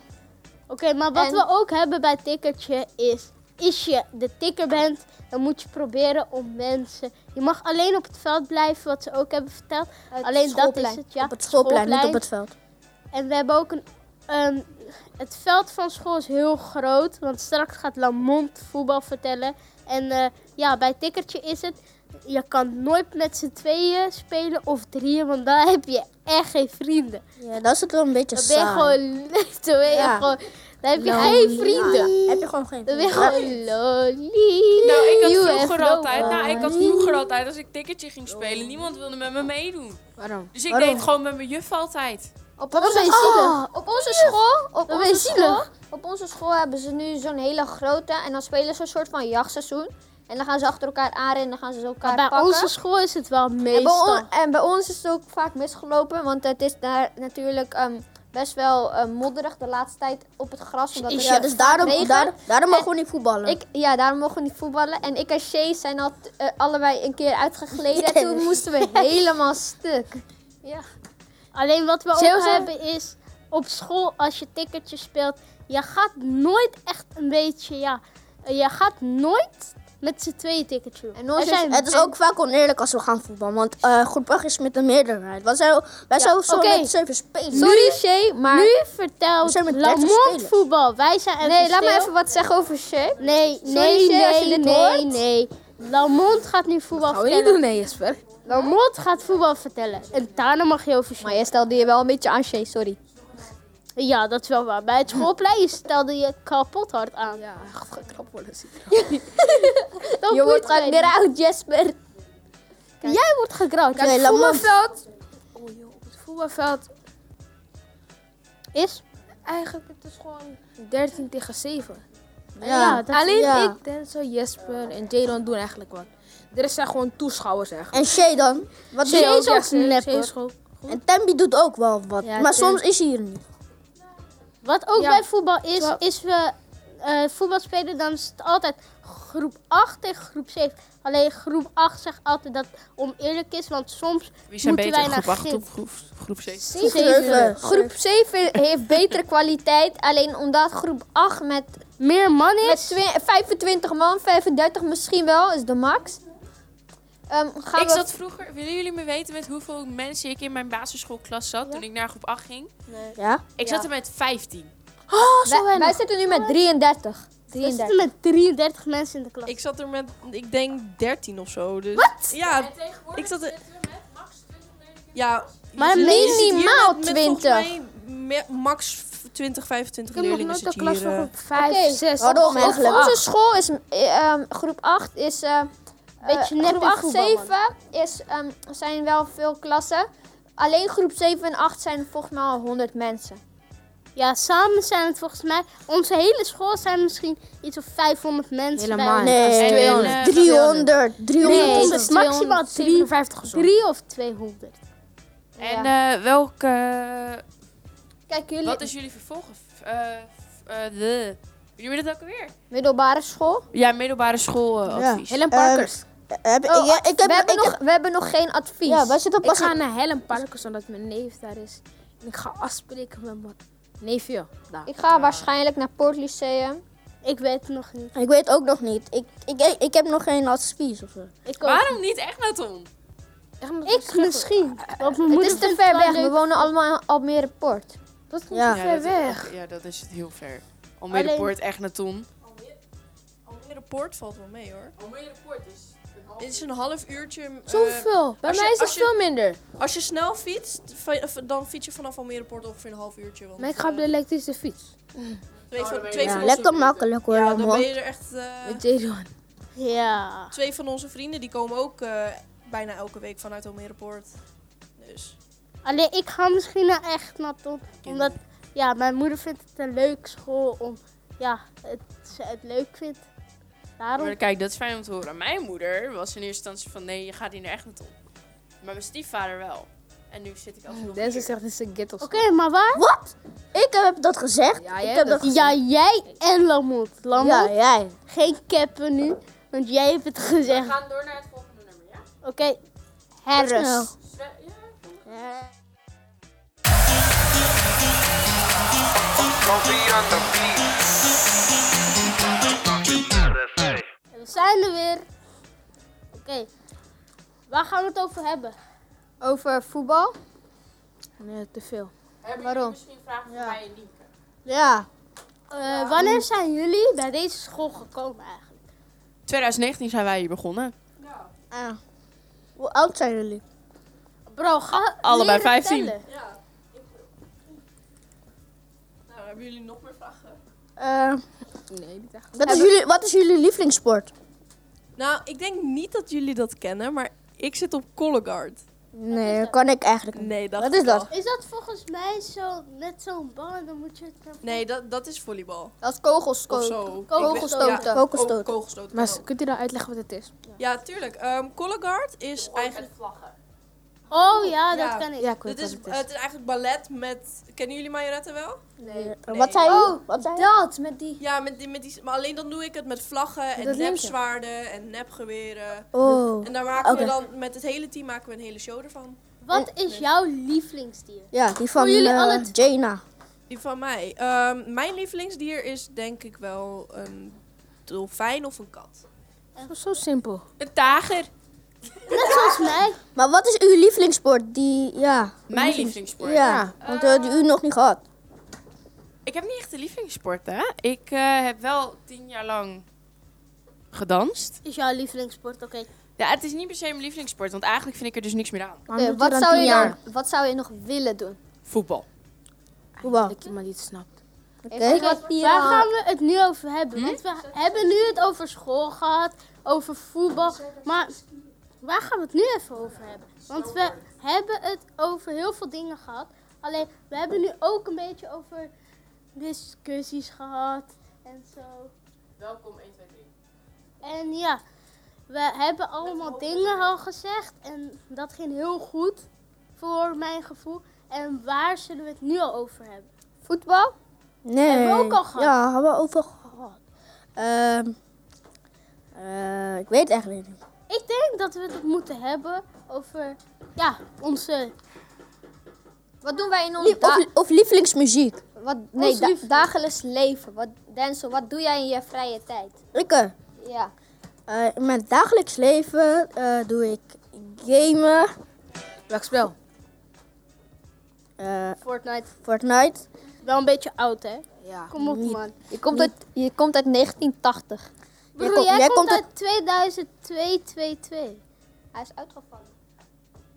Speaker 2: Oké, maar wat
Speaker 4: En-
Speaker 2: we ook hebben bij tikkertje is, als je de tikker bent, dan moet je proberen om mensen. Je mag alleen op het veld blijven, wat ze ook hebben verteld.
Speaker 4: Het
Speaker 2: alleen dat is
Speaker 4: schoolplein.
Speaker 2: het, ja.
Speaker 6: op het schoolplein, niet op het veld.
Speaker 2: En we hebben ook een. ehm, het veld van school is heel groot, want straks gaat Lamont voetbal vertellen. En eh, ja, bij tikkertje is het. Je kan nooit met z'n tweeën spelen of drieën, want dan heb je echt geen vrienden.
Speaker 6: Ja, dat is het wel een beetje
Speaker 2: Dan ben je
Speaker 6: saai.
Speaker 2: gewoon. Dan, ben je
Speaker 6: Ja. Nou,
Speaker 2: gewoon, dan heb je geen vrienden.
Speaker 6: Heb je gewoon geen
Speaker 2: Dan ben je gewoon lonely.
Speaker 3: Nou, ik had
Speaker 2: You
Speaker 3: vroeger
Speaker 2: have no
Speaker 3: altijd, nou, ik had vroeger altijd, als ik ticketje ging spelen, niemand wilde met me meedoen.
Speaker 5: Waarom?
Speaker 3: Dus ik deed gewoon met mijn juf altijd.
Speaker 4: Op onze,
Speaker 2: ben je
Speaker 4: oh, op onze school, op
Speaker 2: ben je
Speaker 4: onze school,
Speaker 2: zielig.
Speaker 4: op onze school hebben ze nu zo'n hele grote en dan spelen ze een soort van jachtseizoen. En dan gaan ze achter elkaar aanrennen en dan gaan ze
Speaker 3: nou,
Speaker 4: elkaar
Speaker 2: Maar bij
Speaker 4: pakken.
Speaker 2: onze school is het wel
Speaker 4: en, bij
Speaker 2: meestal.
Speaker 4: on- en bij ons is het ook vaak misgelopen, want het is daar natuurlijk ehm, best wel ehm, modderig de laatste tijd op het gras. Omdat het
Speaker 6: Ja, dus daarom,
Speaker 4: regen.
Speaker 6: daar, daarom
Speaker 4: En
Speaker 2: Eh,
Speaker 6: mogen we niet voetballen.
Speaker 4: Ik, ja, daarom mogen we niet voetballen. En ik en Shay zijn al t- eh, allebei een keer uitgegleden. En toen moesten we helemaal stuk.
Speaker 2: Alleen wat we
Speaker 5: Zelfs
Speaker 2: ook
Speaker 5: al-
Speaker 2: hebben is op school als je tikkertje speelt, je gaat nooit echt een beetje ja, je gaat nooit met z'n tweeën ticket shoot.
Speaker 4: En nooit
Speaker 2: Er zijn-
Speaker 4: is-
Speaker 6: Het is ook vaak oneerlijk als we gaan voetballen, want eh groep 8 is met de meerderheid. Wij zijn, wij zijn zo
Speaker 2: oké.
Speaker 6: met zeven spelen.
Speaker 4: Sorry, Shay, maar...
Speaker 2: Nu
Speaker 6: We
Speaker 2: vertelt
Speaker 6: zijn met 30
Speaker 2: Lamont
Speaker 6: spelers.
Speaker 2: voetbal. Wij zijn even
Speaker 4: nee, laat me
Speaker 2: stil.
Speaker 4: even wat zeggen over Shay.
Speaker 2: Nee,
Speaker 4: Sorry,
Speaker 2: nee,
Speaker 4: Shay, als je
Speaker 2: nee,
Speaker 4: dit
Speaker 2: nee,
Speaker 4: hoort.
Speaker 2: nee. Lamont gaat nu voetbal
Speaker 5: Hou je Nou, niet
Speaker 2: vertellen.
Speaker 5: doen, nee, Jesper.
Speaker 2: Lamont gaat voetbal vertellen. En daarna mag je over
Speaker 4: Maar jij stelde je wel een beetje aan, Shay, sorry.
Speaker 2: Ja, dat is wel waar. Bij het schoolplein stelde je kapot hard aan.
Speaker 5: Ja, gaat knap worden. zie ik.
Speaker 2: Dat
Speaker 4: Je wordt
Speaker 2: boeit mij
Speaker 4: gewoon weer
Speaker 2: niet.
Speaker 4: oud, Jesper.
Speaker 2: Jij wordt gegrout.
Speaker 5: Kijk, het voetbalveld. Oh joh, het voetbalveld
Speaker 2: Is?
Speaker 5: eigenlijk het is gewoon 13 tegen 7.
Speaker 2: Ja. dat
Speaker 5: Alleen
Speaker 6: ja.
Speaker 5: ik, Denzel, Jesper en Jalen doen eigenlijk wat. De rest zijn gewoon toeschouwers echt.
Speaker 6: En Shay dan? Wat doe
Speaker 2: Shay
Speaker 6: je?
Speaker 2: is ook nep,
Speaker 5: Jay is gewoon-
Speaker 6: En Tembi doet ook wel wat,
Speaker 5: Ja,
Speaker 6: maar
Speaker 5: Tem-
Speaker 6: soms is hij hier niet.
Speaker 2: Wat ook
Speaker 5: Ja.
Speaker 2: bij voetbal is,
Speaker 5: Zo.
Speaker 2: is we eh voetbal spelen, dan is het altijd groep 8 tegen groep 7. Alleen groep 8 zegt altijd dat het oneerlijk is, want soms
Speaker 8: Wie zijn
Speaker 2: Moeten
Speaker 8: beter,
Speaker 2: wij naar
Speaker 8: groep 8
Speaker 2: Gif?
Speaker 8: of groep, groep 7?
Speaker 6: Zeven.
Speaker 4: Groep 7 heeft betere kwaliteit, alleen omdat groep 8 met,
Speaker 2: meer man
Speaker 4: met
Speaker 2: is.
Speaker 4: twi- 25 man, 35 misschien wel, is de max. Ehm, gaan
Speaker 8: Ik
Speaker 4: we...
Speaker 8: zat vroeger, willen jullie me weten met hoeveel mensen ik in mijn basisschoolklas zat toen ik naar groep 8 ging?
Speaker 6: Ja?
Speaker 8: Ik zat er met 15.
Speaker 4: wij, wij zitten nu met 33. 33.
Speaker 2: We zitten met 33 mensen in de klas.
Speaker 10: Ik zat er met, ik denk 13 of zo. Dus... Ja,
Speaker 3: En tegenwoordig
Speaker 10: ik zat er-
Speaker 3: zitten we met max 20
Speaker 10: ja.
Speaker 2: Maar
Speaker 10: je zit hier
Speaker 4: minimaal
Speaker 10: met- met volgens
Speaker 4: 20.
Speaker 10: mij me- max 20, 25
Speaker 5: Ik heb nog
Speaker 10: leerlingen
Speaker 5: nooit een
Speaker 10: zitten hier.
Speaker 5: klas van
Speaker 10: eh.
Speaker 5: groep 5,
Speaker 4: Oké,
Speaker 5: 6.
Speaker 6: Waarom
Speaker 4: Op
Speaker 6: eigenlijk?
Speaker 4: onze school is eh, ehm, groep 8 is. eh,
Speaker 2: Beetje
Speaker 4: eh,
Speaker 2: nep
Speaker 4: groep
Speaker 2: in
Speaker 4: 8,
Speaker 2: voetbal,
Speaker 4: 7 is, ehm, zijn wel veel klassen. Alleen groep 7 en 8 zijn volgens mij al 100 mensen.
Speaker 2: Ja, samen zijn het volgens mij, onze hele school zijn misschien iets of 500 mensen. bij
Speaker 5: Helemaal
Speaker 2: ons.
Speaker 5: niet.
Speaker 6: Nee,
Speaker 8: En, eh,
Speaker 6: 300. 300.
Speaker 2: Nee,
Speaker 6: is
Speaker 2: het is
Speaker 6: het.
Speaker 2: maximaal 3,
Speaker 5: 57 of zo.
Speaker 2: 3 of 200.
Speaker 8: En eh, welke...
Speaker 4: Kijk, jullie
Speaker 8: Wat is jullie vervolgen? Eh eh, de... Jullie willen het ook alweer?
Speaker 4: middelbare school.
Speaker 8: Ja, middelbare eh, schooladvies.
Speaker 5: Helen Parkers.
Speaker 2: Ehm,
Speaker 6: Heb,
Speaker 4: Oh,
Speaker 6: ja, ik heb,
Speaker 4: we, hebben
Speaker 6: ik
Speaker 4: nog, we hebben nog geen advies.
Speaker 6: Ja, wij zitten
Speaker 5: ik
Speaker 6: pas
Speaker 5: ga naar Helen Parkers omdat mijn neef daar is. En ik ga afspreken met mijn neefje. Daar.
Speaker 4: Ik ga waarschijnlijk naar Poort Lyceum.
Speaker 2: Ik weet het nog niet.
Speaker 6: Ik weet ook nog niet. Ik, ik, ik, ik heb nog geen advies of zo.
Speaker 2: Ik, ook.
Speaker 8: Waarom niet echt naar Tom?
Speaker 5: Echt omdat
Speaker 2: ik misschien.
Speaker 5: Eh,
Speaker 2: Want mijn
Speaker 4: Het
Speaker 2: moeder
Speaker 4: is te
Speaker 2: vindt
Speaker 4: ver
Speaker 2: wel
Speaker 4: weg.
Speaker 2: leuk.
Speaker 4: We wonen allemaal in Almere Poort.
Speaker 5: Dat komt
Speaker 6: Ja.
Speaker 5: te ver weg.
Speaker 8: Ja, dat is het heel ver.
Speaker 2: Almere Alleen-
Speaker 8: Poort echt naar Tom.
Speaker 10: Almere Poort valt wel mee hoor.
Speaker 3: Almere Poort is een half
Speaker 10: Dit is een half uurtje. eh,
Speaker 5: Zoveel. Bij
Speaker 10: als je-
Speaker 5: mij is het
Speaker 10: als je-
Speaker 5: veel minder.
Speaker 10: als je snel fietst, fi- of- dan fiets je vanaf Almere Poort ongeveer een half uurtje. Want,
Speaker 5: Maar ik ga op de
Speaker 10: eh,
Speaker 5: elektrische fiets.
Speaker 10: twee van, twee van
Speaker 6: Ja,
Speaker 10: onze-
Speaker 6: lekker makkelijk hoor.
Speaker 10: Ja, dan
Speaker 6: allemaal.
Speaker 10: ben je er echt. eh,
Speaker 5: Met Jadon.
Speaker 2: Ja.
Speaker 10: twee van onze vrienden die komen ook eh, bijna elke week vanuit Almere Poort. Dus.
Speaker 2: Alleen ik ga misschien naar echt naar Tom. Omdat ja, mijn moeder vindt het een leuk school om ja, het, ze het leuk vindt.
Speaker 8: Maar
Speaker 2: Daarom.
Speaker 8: kijk, dat is fijn om te horen. Mijn moeder was in eerste instantie van nee, je gaat hier naar echt naartoe. Maar mijn stiefvader wel. En nu zit ik alsnog
Speaker 5: Denzel
Speaker 8: hier.
Speaker 5: zegt het is een ghetto.
Speaker 2: Oké, maar waar?
Speaker 6: Ik heb dat gezegd.
Speaker 5: Ja,
Speaker 6: ik
Speaker 5: jij
Speaker 6: heb dat
Speaker 5: hebt
Speaker 6: gezegd.
Speaker 2: Ja, jij en Lamont. Lamont,
Speaker 6: Ja, jij.
Speaker 2: geen cappen nu. Want jij hebt het
Speaker 3: We
Speaker 2: gezegd.
Speaker 3: gaan door naar het volgende nummer, ja?
Speaker 2: Oké, Harris.
Speaker 3: Zwe- ja.
Speaker 2: We zijn er weer. Oké. Waar gaan we het over hebben?
Speaker 4: Over voetbal.
Speaker 5: Nee, te veel.
Speaker 3: Hebben
Speaker 4: Waarom?
Speaker 3: jullie misschien vragen voor mij en Nienke?
Speaker 6: Ja.
Speaker 2: Eh, wanneer zijn jullie bij deze school gekomen eigenlijk?
Speaker 8: 2019 zijn wij hier begonnen.
Speaker 6: Hoe oud zijn jullie?
Speaker 2: Bro, ga
Speaker 6: Ah,
Speaker 8: Allebei
Speaker 2: leren
Speaker 8: 15.
Speaker 2: tellen.
Speaker 10: Nou, hebben jullie nog meer vragen?
Speaker 6: Eh,
Speaker 5: Nee, niet echt.
Speaker 6: wat, is jullie wat is jullie lievelingssport?
Speaker 10: Nou, ik denk niet dat jullie dat kennen, maar ik zit op Color Guard.
Speaker 6: Nee, dat kan ik eigenlijk niet.
Speaker 10: Nee, dat
Speaker 6: Wat is dat?
Speaker 2: Is dat volgens mij zo, net zo'n bal en dan moet je het...
Speaker 10: Nee, dat, dat is volleybal.
Speaker 4: Dat is
Speaker 10: Of
Speaker 4: kogelskoot.
Speaker 10: zo. Oh,
Speaker 4: Kogelstoten.
Speaker 10: Ja,
Speaker 6: Kogelstoten.
Speaker 10: ko- kogelstoten.
Speaker 5: Maar
Speaker 10: kan
Speaker 5: s- kunt u dan uitleggen wat het is?
Speaker 10: ook. Ja, tuurlijk. Ehm Color Guard is eigenlijk...
Speaker 3: Met vlaggen.
Speaker 2: Oh ja,
Speaker 10: Ja.
Speaker 2: dat kan ik.
Speaker 5: Ja, ik weet
Speaker 10: Dit is,
Speaker 5: wat het
Speaker 10: eh, het is eigenlijk ballet met... Kennen jullie majoretten wel?
Speaker 6: Eh, Wat zijn jullie? wat zijn
Speaker 4: Dat, met die.
Speaker 10: Ja, met die, met die, maar alleen dan doe ik het met vlaggen en
Speaker 5: Dat linkje.
Speaker 10: nepzwaarden en nepgeweren.
Speaker 6: Oh.
Speaker 10: En daar maken
Speaker 6: Oké.
Speaker 10: we dan, met het hele team maken we een hele show ervan.
Speaker 2: Wat is jouw lievelingsdier?
Speaker 6: Ja, die van
Speaker 2: Voor jullie
Speaker 6: eh,
Speaker 2: alle t-
Speaker 6: Jaina.
Speaker 10: Die van mij. Ehm, mijn lievelingsdier is denk ik wel een dolfijn of een kat.
Speaker 5: Zo simpel.
Speaker 8: Een tager.
Speaker 2: Net zoals mij.
Speaker 6: Maar wat is uw lievelingssport? Die, ja.
Speaker 8: Mijn lievelingssport.
Speaker 6: Ja, want eh, die u nog niet gehad.
Speaker 8: Ik heb niet echt een lievelingssport, hè? Ik eh, heb wel tien jaar lang gedanst.
Speaker 2: Is jouw lievelingssport, oké.
Speaker 8: Ja, het is niet per se mijn lievelingssport, want eigenlijk vind ik er dus niks meer aan.
Speaker 4: Oké, wat, zou je dan, wat zou je nog willen doen?
Speaker 8: Voetbal.
Speaker 6: Voetbal.
Speaker 5: Dat je maar niet snapt.
Speaker 6: Oké.
Speaker 2: Waar gaan we het nu over hebben? Want we hebben nu het over school gehad, over voetbal. Maar waar gaan we het nu even over hebben? Want we hebben het over heel veel dingen gehad. Alleen, we hebben nu ook een beetje over discussies gehad en zo.
Speaker 3: Welkom 1, 2, 3.
Speaker 2: En ja, we hebben allemaal dingen al gezegd en dat ging heel goed voor mijn gevoel. En waar zullen we het nu al over hebben?
Speaker 4: Voetbal?
Speaker 6: Nee.
Speaker 2: Hebben we ook al gehad?
Speaker 6: Ja, hebben we over gehad. Ehm, eh, ik weet het eigenlijk niet.
Speaker 2: Ik denk dat we het moeten hebben over ja, onze
Speaker 4: Wat doen wij in ons
Speaker 6: Lie-
Speaker 4: da-
Speaker 6: of, of lievelingsmuziek.
Speaker 4: wat, nee,
Speaker 2: ons
Speaker 4: da-
Speaker 2: lief-
Speaker 4: dagelijks leven? Wat, Denzel, wat doe jij in je vrije tijd?
Speaker 6: Ik, eh,
Speaker 4: Ja.
Speaker 6: eh, in mijn dagelijks leven eh, doe ik gamen,
Speaker 5: Welk spel?
Speaker 6: eh,
Speaker 2: Fortnite.
Speaker 6: Fortnite.
Speaker 2: Wel een beetje oud, hè?
Speaker 5: Ja.
Speaker 2: Kom op, man.
Speaker 4: Je komt uit, je komt uit 1980.
Speaker 2: Bro,
Speaker 6: komt-
Speaker 2: jij,
Speaker 6: jij
Speaker 2: komt,
Speaker 6: komt
Speaker 2: uit 2002, 22.
Speaker 4: Hij is uitgevallen.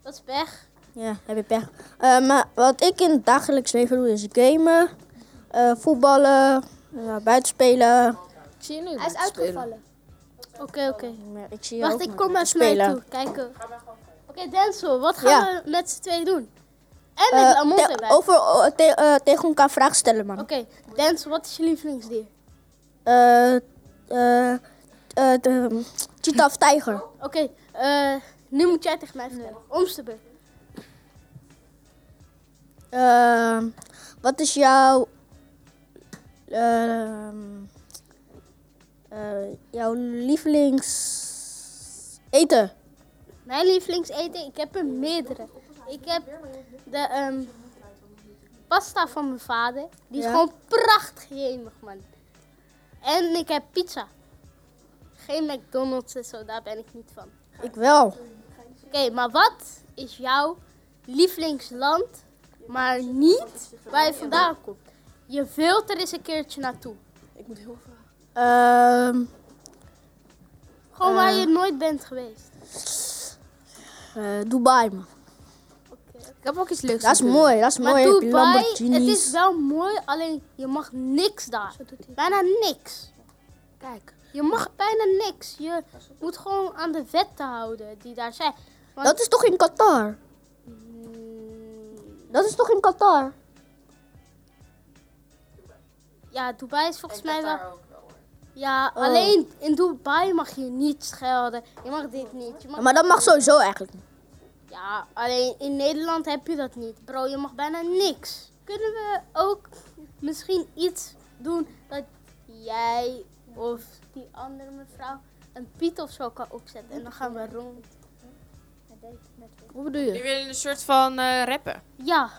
Speaker 2: Dat is weg.
Speaker 6: Ja, heb je pech. Eh, maar wat ik in het dagelijks leven doe is gamen, eh, voetballen, eh, buitenspelen.
Speaker 5: Ik zie je nu.
Speaker 4: Hij is uitgevallen.
Speaker 2: Oké, oké.
Speaker 6: Ja, Ik zie je
Speaker 2: Wacht,
Speaker 6: ook
Speaker 2: ik
Speaker 6: met
Speaker 2: kom
Speaker 6: mij
Speaker 2: naar mij
Speaker 6: spelen.
Speaker 2: toe. Kijken. Oké, Denzel, wat gaan
Speaker 6: Ja.
Speaker 2: we met z'n twee doen? En met
Speaker 6: Eh,
Speaker 2: Lamont
Speaker 6: te-
Speaker 2: erbij. Oké,
Speaker 6: over, oh, te- eh, tegen elkaar vragen stellen, man.
Speaker 2: Denzel, wat is je lievelingsdier?
Speaker 6: eh eh eh, de- cheetah of tijger.
Speaker 2: Oké, eh, nu moet jij tegen mij vertellen. Omste beurt.
Speaker 6: Ehm, wat is jouw... ehm, eh, jouw lievelings... Eten.
Speaker 2: Mijn lievelingseten, ik heb er meerdere. Ik heb de ehm, pasta van mijn vader. Die is
Speaker 6: Ja.
Speaker 2: gewoon prachtig jemig, man. En ik heb pizza. Geen McDonald's en zo, daar ben ik niet van.
Speaker 6: Ik wel.
Speaker 2: Oké, maar wat is jouw lievelingsland, maar niet waar je vandaan komt? Je wilt er eens een keertje naartoe.
Speaker 6: Ehm,
Speaker 2: Gewoon waar je nooit bent geweest.
Speaker 6: eh, Dubai, man.
Speaker 5: Ik heb ook iets leuks.
Speaker 6: Dat is
Speaker 5: natuurlijk.
Speaker 6: mooi, dat is
Speaker 2: Maar
Speaker 6: mooi. Heb je
Speaker 2: Dubai, het
Speaker 6: Lamborghinis.
Speaker 2: is wel mooi, alleen je mag niks daar. Bijna niks.
Speaker 5: Kijk.
Speaker 2: Je mag bijna niks. Je moet gewoon aan de wetten houden die daar zijn. Want-
Speaker 6: Dat is toch in Qatar? Dat is toch in Qatar?
Speaker 2: Ja, Dubai is volgens mij wel.
Speaker 3: daar ook wel hoor.
Speaker 2: Ja,
Speaker 6: Oh.
Speaker 2: alleen in Dubai mag je niet schelden. Je mag dit niet. Je mag
Speaker 6: Ja, maar dat mag sowieso eigenlijk niet.
Speaker 2: Ja, alleen in Nederland heb je dat niet. Bro, je mag bijna niks. Kunnen we ook misschien iets doen dat jij of die andere mevrouw een piet of zo kan opzetten? En dan gaan we rond.
Speaker 5: Hoe bedoel je?
Speaker 8: Nu willen een soort van eh, rappen.
Speaker 2: Ja,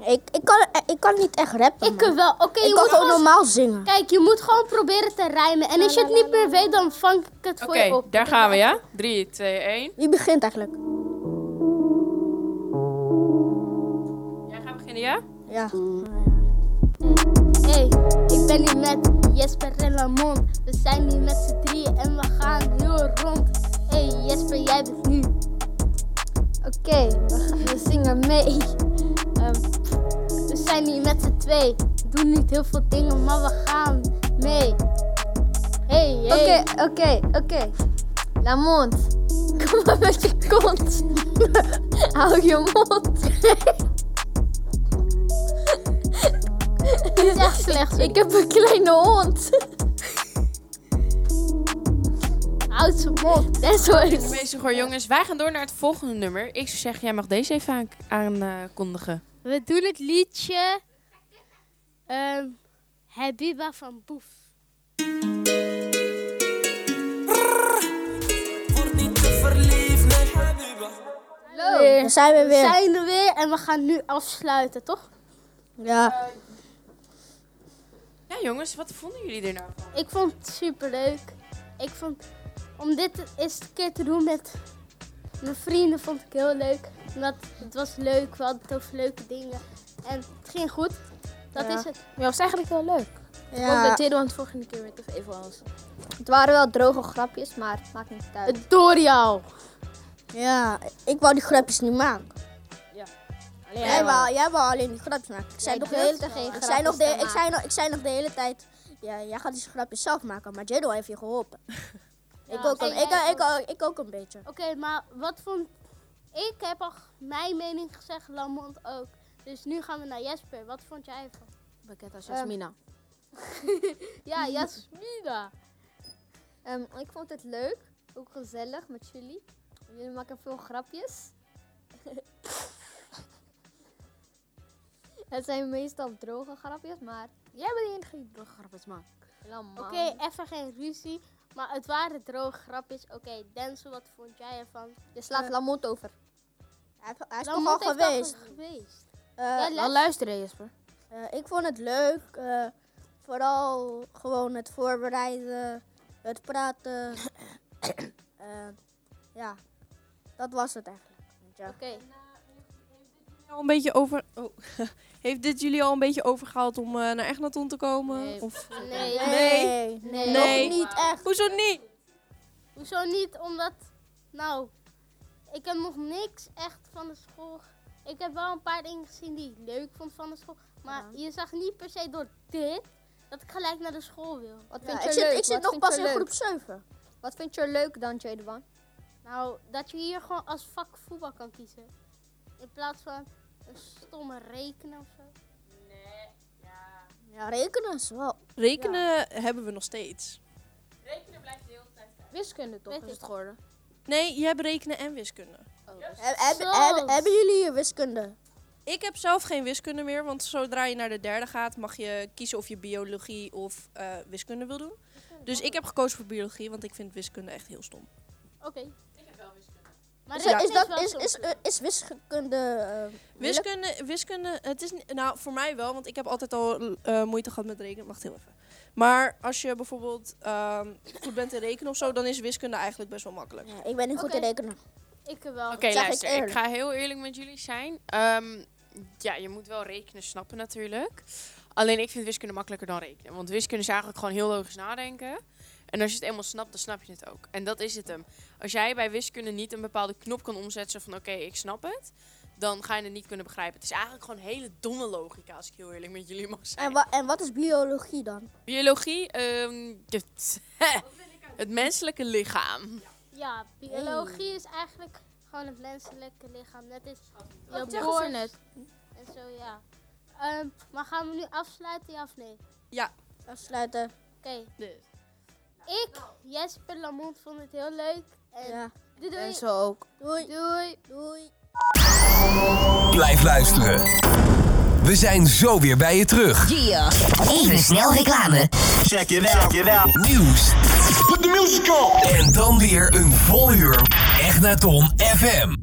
Speaker 6: Ik, ik, kan, ik kan niet echt rappen,
Speaker 2: ik
Speaker 6: man.
Speaker 2: wel. Oké, je
Speaker 6: Ik kan
Speaker 2: moet
Speaker 6: gewoon
Speaker 2: gewoon...
Speaker 6: normaal zingen.
Speaker 2: Kijk, je moet gewoon proberen te rijmen. En als je het niet meer weet, dan vang ik het
Speaker 8: Oké,
Speaker 2: voor je op.
Speaker 8: daar gaan we, ja? 3, 2, 1.
Speaker 6: Wie begint eigenlijk?
Speaker 8: Jij gaat beginnen, ja?
Speaker 6: Ja.
Speaker 2: Hey, ik ben hier met Jesper en Lamont. We zijn hier met z'n drieën en we gaan heel rond. Hey Jesper, jij bent nu.
Speaker 4: Oké, we, gaan- we zingen mee.
Speaker 2: Ehm, we zijn hier met z'n twee. Doen niet heel veel dingen, maar we gaan mee. Hey, hey.
Speaker 4: Oké, oké, oké. Lamont, kom maar met je kont. Hou je mond.
Speaker 2: dit is echt slecht.
Speaker 4: Ik heb een kleine hond.
Speaker 2: houd zijn mond.
Speaker 4: Denzel is...
Speaker 8: Bezig hoor, jongens. Wij gaan door naar het volgende nummer. Ik zou zeggen, jij mag deze even aan- aankondigen.
Speaker 2: We doen het liedje. ehm Habiba van Boef.
Speaker 7: Word niet te verliefd, nee, Habiba.
Speaker 2: Oh.
Speaker 6: Daar zijn we
Speaker 2: We
Speaker 6: weer.
Speaker 2: zijn er weer en we gaan nu afsluiten, toch?
Speaker 6: Ja.
Speaker 8: Ja, jongens, wat vonden jullie er nou van?
Speaker 2: Ik vond het super leuk. Ik vond om dit eens een keer te doen met mijn vrienden vond ik heel leuk. Omdat het was leuk, we hadden het over leuke dingen. En het ging goed. Dat
Speaker 5: Ja.
Speaker 2: is het.
Speaker 5: Ja, was eigenlijk wel leuk.
Speaker 2: Eh,
Speaker 5: Ik hoop dat Jeroen het volgende keer weer even was.
Speaker 4: Het waren wel droge grapjes, maar het maakt niet uit.
Speaker 2: Door jou.
Speaker 6: Ja, ik wou die grapjes niet maken.
Speaker 5: Alleen
Speaker 6: Jij wou, jij wou alleen die grapjes maken. Ik zei nog de hele tijd.
Speaker 4: geen
Speaker 6: Ik zei, nog de,
Speaker 4: grapjes te
Speaker 6: ik, zei nog, ik zei nog de hele tijd. Ja, jij gaat die grapjes zelf maken, maar Jado heeft je geholpen. ik, ook
Speaker 2: oké,
Speaker 6: een, ik,
Speaker 2: jij
Speaker 6: ik, ook- ik ook een beetje.
Speaker 2: Oké, maar wat vond... Ik heb al g- mijn mening gezegd, Lamont ook. Dus nu gaan we naar Jesper. Wat vond jij ervan?
Speaker 5: Pakket als Jasmina.
Speaker 2: Ja,
Speaker 6: Mhm.
Speaker 2: Jasmina.
Speaker 4: Ehm, ik vond het leuk, ook gezellig met jullie. Jullie maken veel grapjes. het zijn meestal droge grapjes, maar
Speaker 5: Jij bent de enige die droge grapjes maakt.
Speaker 4: helemaal.
Speaker 2: Oké, even geen ruzie. Maar het waren droge grapjes. Oké, Denzel, wat vond jij ervan?
Speaker 4: je
Speaker 6: eh,
Speaker 4: slaat Lamont over.
Speaker 6: Hij, hij
Speaker 4: Nou,
Speaker 6: is
Speaker 2: Lamont
Speaker 6: toch al
Speaker 2: heeft al
Speaker 6: geweest.
Speaker 2: geweest.
Speaker 6: Eh,
Speaker 2: Ja,
Speaker 5: Wel luisteren, Jesper.
Speaker 6: eh, ik vond het leuk. eh, vooral gewoon het voorbereiden, het praten. Eh, ja, dat was het eigenlijk. Ja.
Speaker 2: Oké.
Speaker 10: Al een beetje over... oh. Heeft dit jullie al een beetje overgehaald om eh, naar Egnaton te komen?
Speaker 5: Nee.
Speaker 10: Of...
Speaker 2: Nee.
Speaker 6: Nee, nee,
Speaker 10: Nee.
Speaker 6: nog niet echt.
Speaker 10: Hoezo niet?
Speaker 2: Hoezo niet? Omdat, nou, ik heb nog niks echt van de school. ge- Ik heb wel een paar dingen gezien die ik leuk vond van de school. Maar je zag niet per se door dit dat ik gelijk naar de school wil.
Speaker 4: Wat
Speaker 6: Ja,
Speaker 4: vind je leuk?
Speaker 6: ik zit, ik zit
Speaker 4: Wat
Speaker 6: nog
Speaker 4: vind
Speaker 6: pas
Speaker 4: je
Speaker 6: in
Speaker 4: leuk?
Speaker 6: groep 7.
Speaker 4: Wat vind je leuk dan, Jadewan?
Speaker 2: Nou, dat je hier gewoon als vak voetbal kan kiezen. In plaats van een stomme rekenen of zo.
Speaker 3: Nee, ja.
Speaker 6: Ja, rekenen is wel
Speaker 10: Rekenen hebben we nog steeds.
Speaker 3: Rekenen blijft de hele tijd uit.
Speaker 5: Ehm, Wiskunde toch
Speaker 2: Weet
Speaker 5: is
Speaker 2: ik.
Speaker 5: het geworden.
Speaker 10: Nee, je hebt rekenen en wiskunde.
Speaker 6: Eh, Heb- hebben- hebben- hebben jullie je wiskunde?
Speaker 10: Ik heb zelf geen wiskunde meer, want zodra je naar de derde gaat, mag je kiezen of je biologie of eh, wiskunde wil doen. Dus ik heb gekozen voor biologie, want ik vind wiskunde echt heel stom.
Speaker 2: Oké.
Speaker 3: Ik heb wel wiskunde.
Speaker 2: Maar
Speaker 6: Is,
Speaker 2: rekenen
Speaker 6: is, dat,
Speaker 2: wel
Speaker 6: is,
Speaker 2: soms
Speaker 6: is,
Speaker 2: leuk.
Speaker 6: is wiskunde... eh, moeilijk?
Speaker 10: Wiskunde, wiskunde, het is ni- nou voor mij wel, want ik heb altijd al eh, moeite gehad met rekenen. Wacht heel even. Maar als je bijvoorbeeld ehm, goed bent in rekenen of zo, dan is wiskunde eigenlijk best wel makkelijk.
Speaker 6: Ja, ik ben niet goed
Speaker 2: Oké. Ah,
Speaker 6: in rekenen.
Speaker 2: Ik wel.
Speaker 8: Oké,
Speaker 6: zeg ik
Speaker 8: luister, ik,
Speaker 6: eerlijk.
Speaker 8: ga heel eerlijk met jullie zijn. Ehm, ja, je moet wel rekenen snappen natuurlijk. Alleen ik vind wiskunde makkelijker dan rekenen. Want wiskunde is eigenlijk gewoon heel logisch nadenken. En als je het eenmaal snapt, dan snap je het ook. En dat is het hem. Als jij bij wiskunde niet een bepaalde knop kan omzetten van oké, ik snap het. Dan ga je het niet kunnen begrijpen. Het is eigenlijk gewoon hele domme logica, als ik heel eerlijk met jullie mag zijn.
Speaker 6: En, wa- en wat is biologie dan?
Speaker 8: Biologie, ehm, het, het menselijke lichaam.
Speaker 2: Ja, biologie is eigenlijk gewoon het menselijke lichaam. Dat is je
Speaker 5: zeggen ze
Speaker 2: borst en zo, ja. Ehm, maar gaan we nu afsluiten, ja of nee? Oké.
Speaker 6: Afsluiten.
Speaker 2: Ik, Jesper Lamont, vond het heel leuk. En
Speaker 6: Ja.
Speaker 2: doei doei.
Speaker 5: En zo ook.
Speaker 6: Doei. Doei. Doei.
Speaker 1: Blijf luisteren. We zijn zo weer bij je terug.
Speaker 11: Even snel reclame.
Speaker 1: Check it out. Check it out. Nieuws. Put the music on. En dan weer een vol uur. Echt naar Tom FM.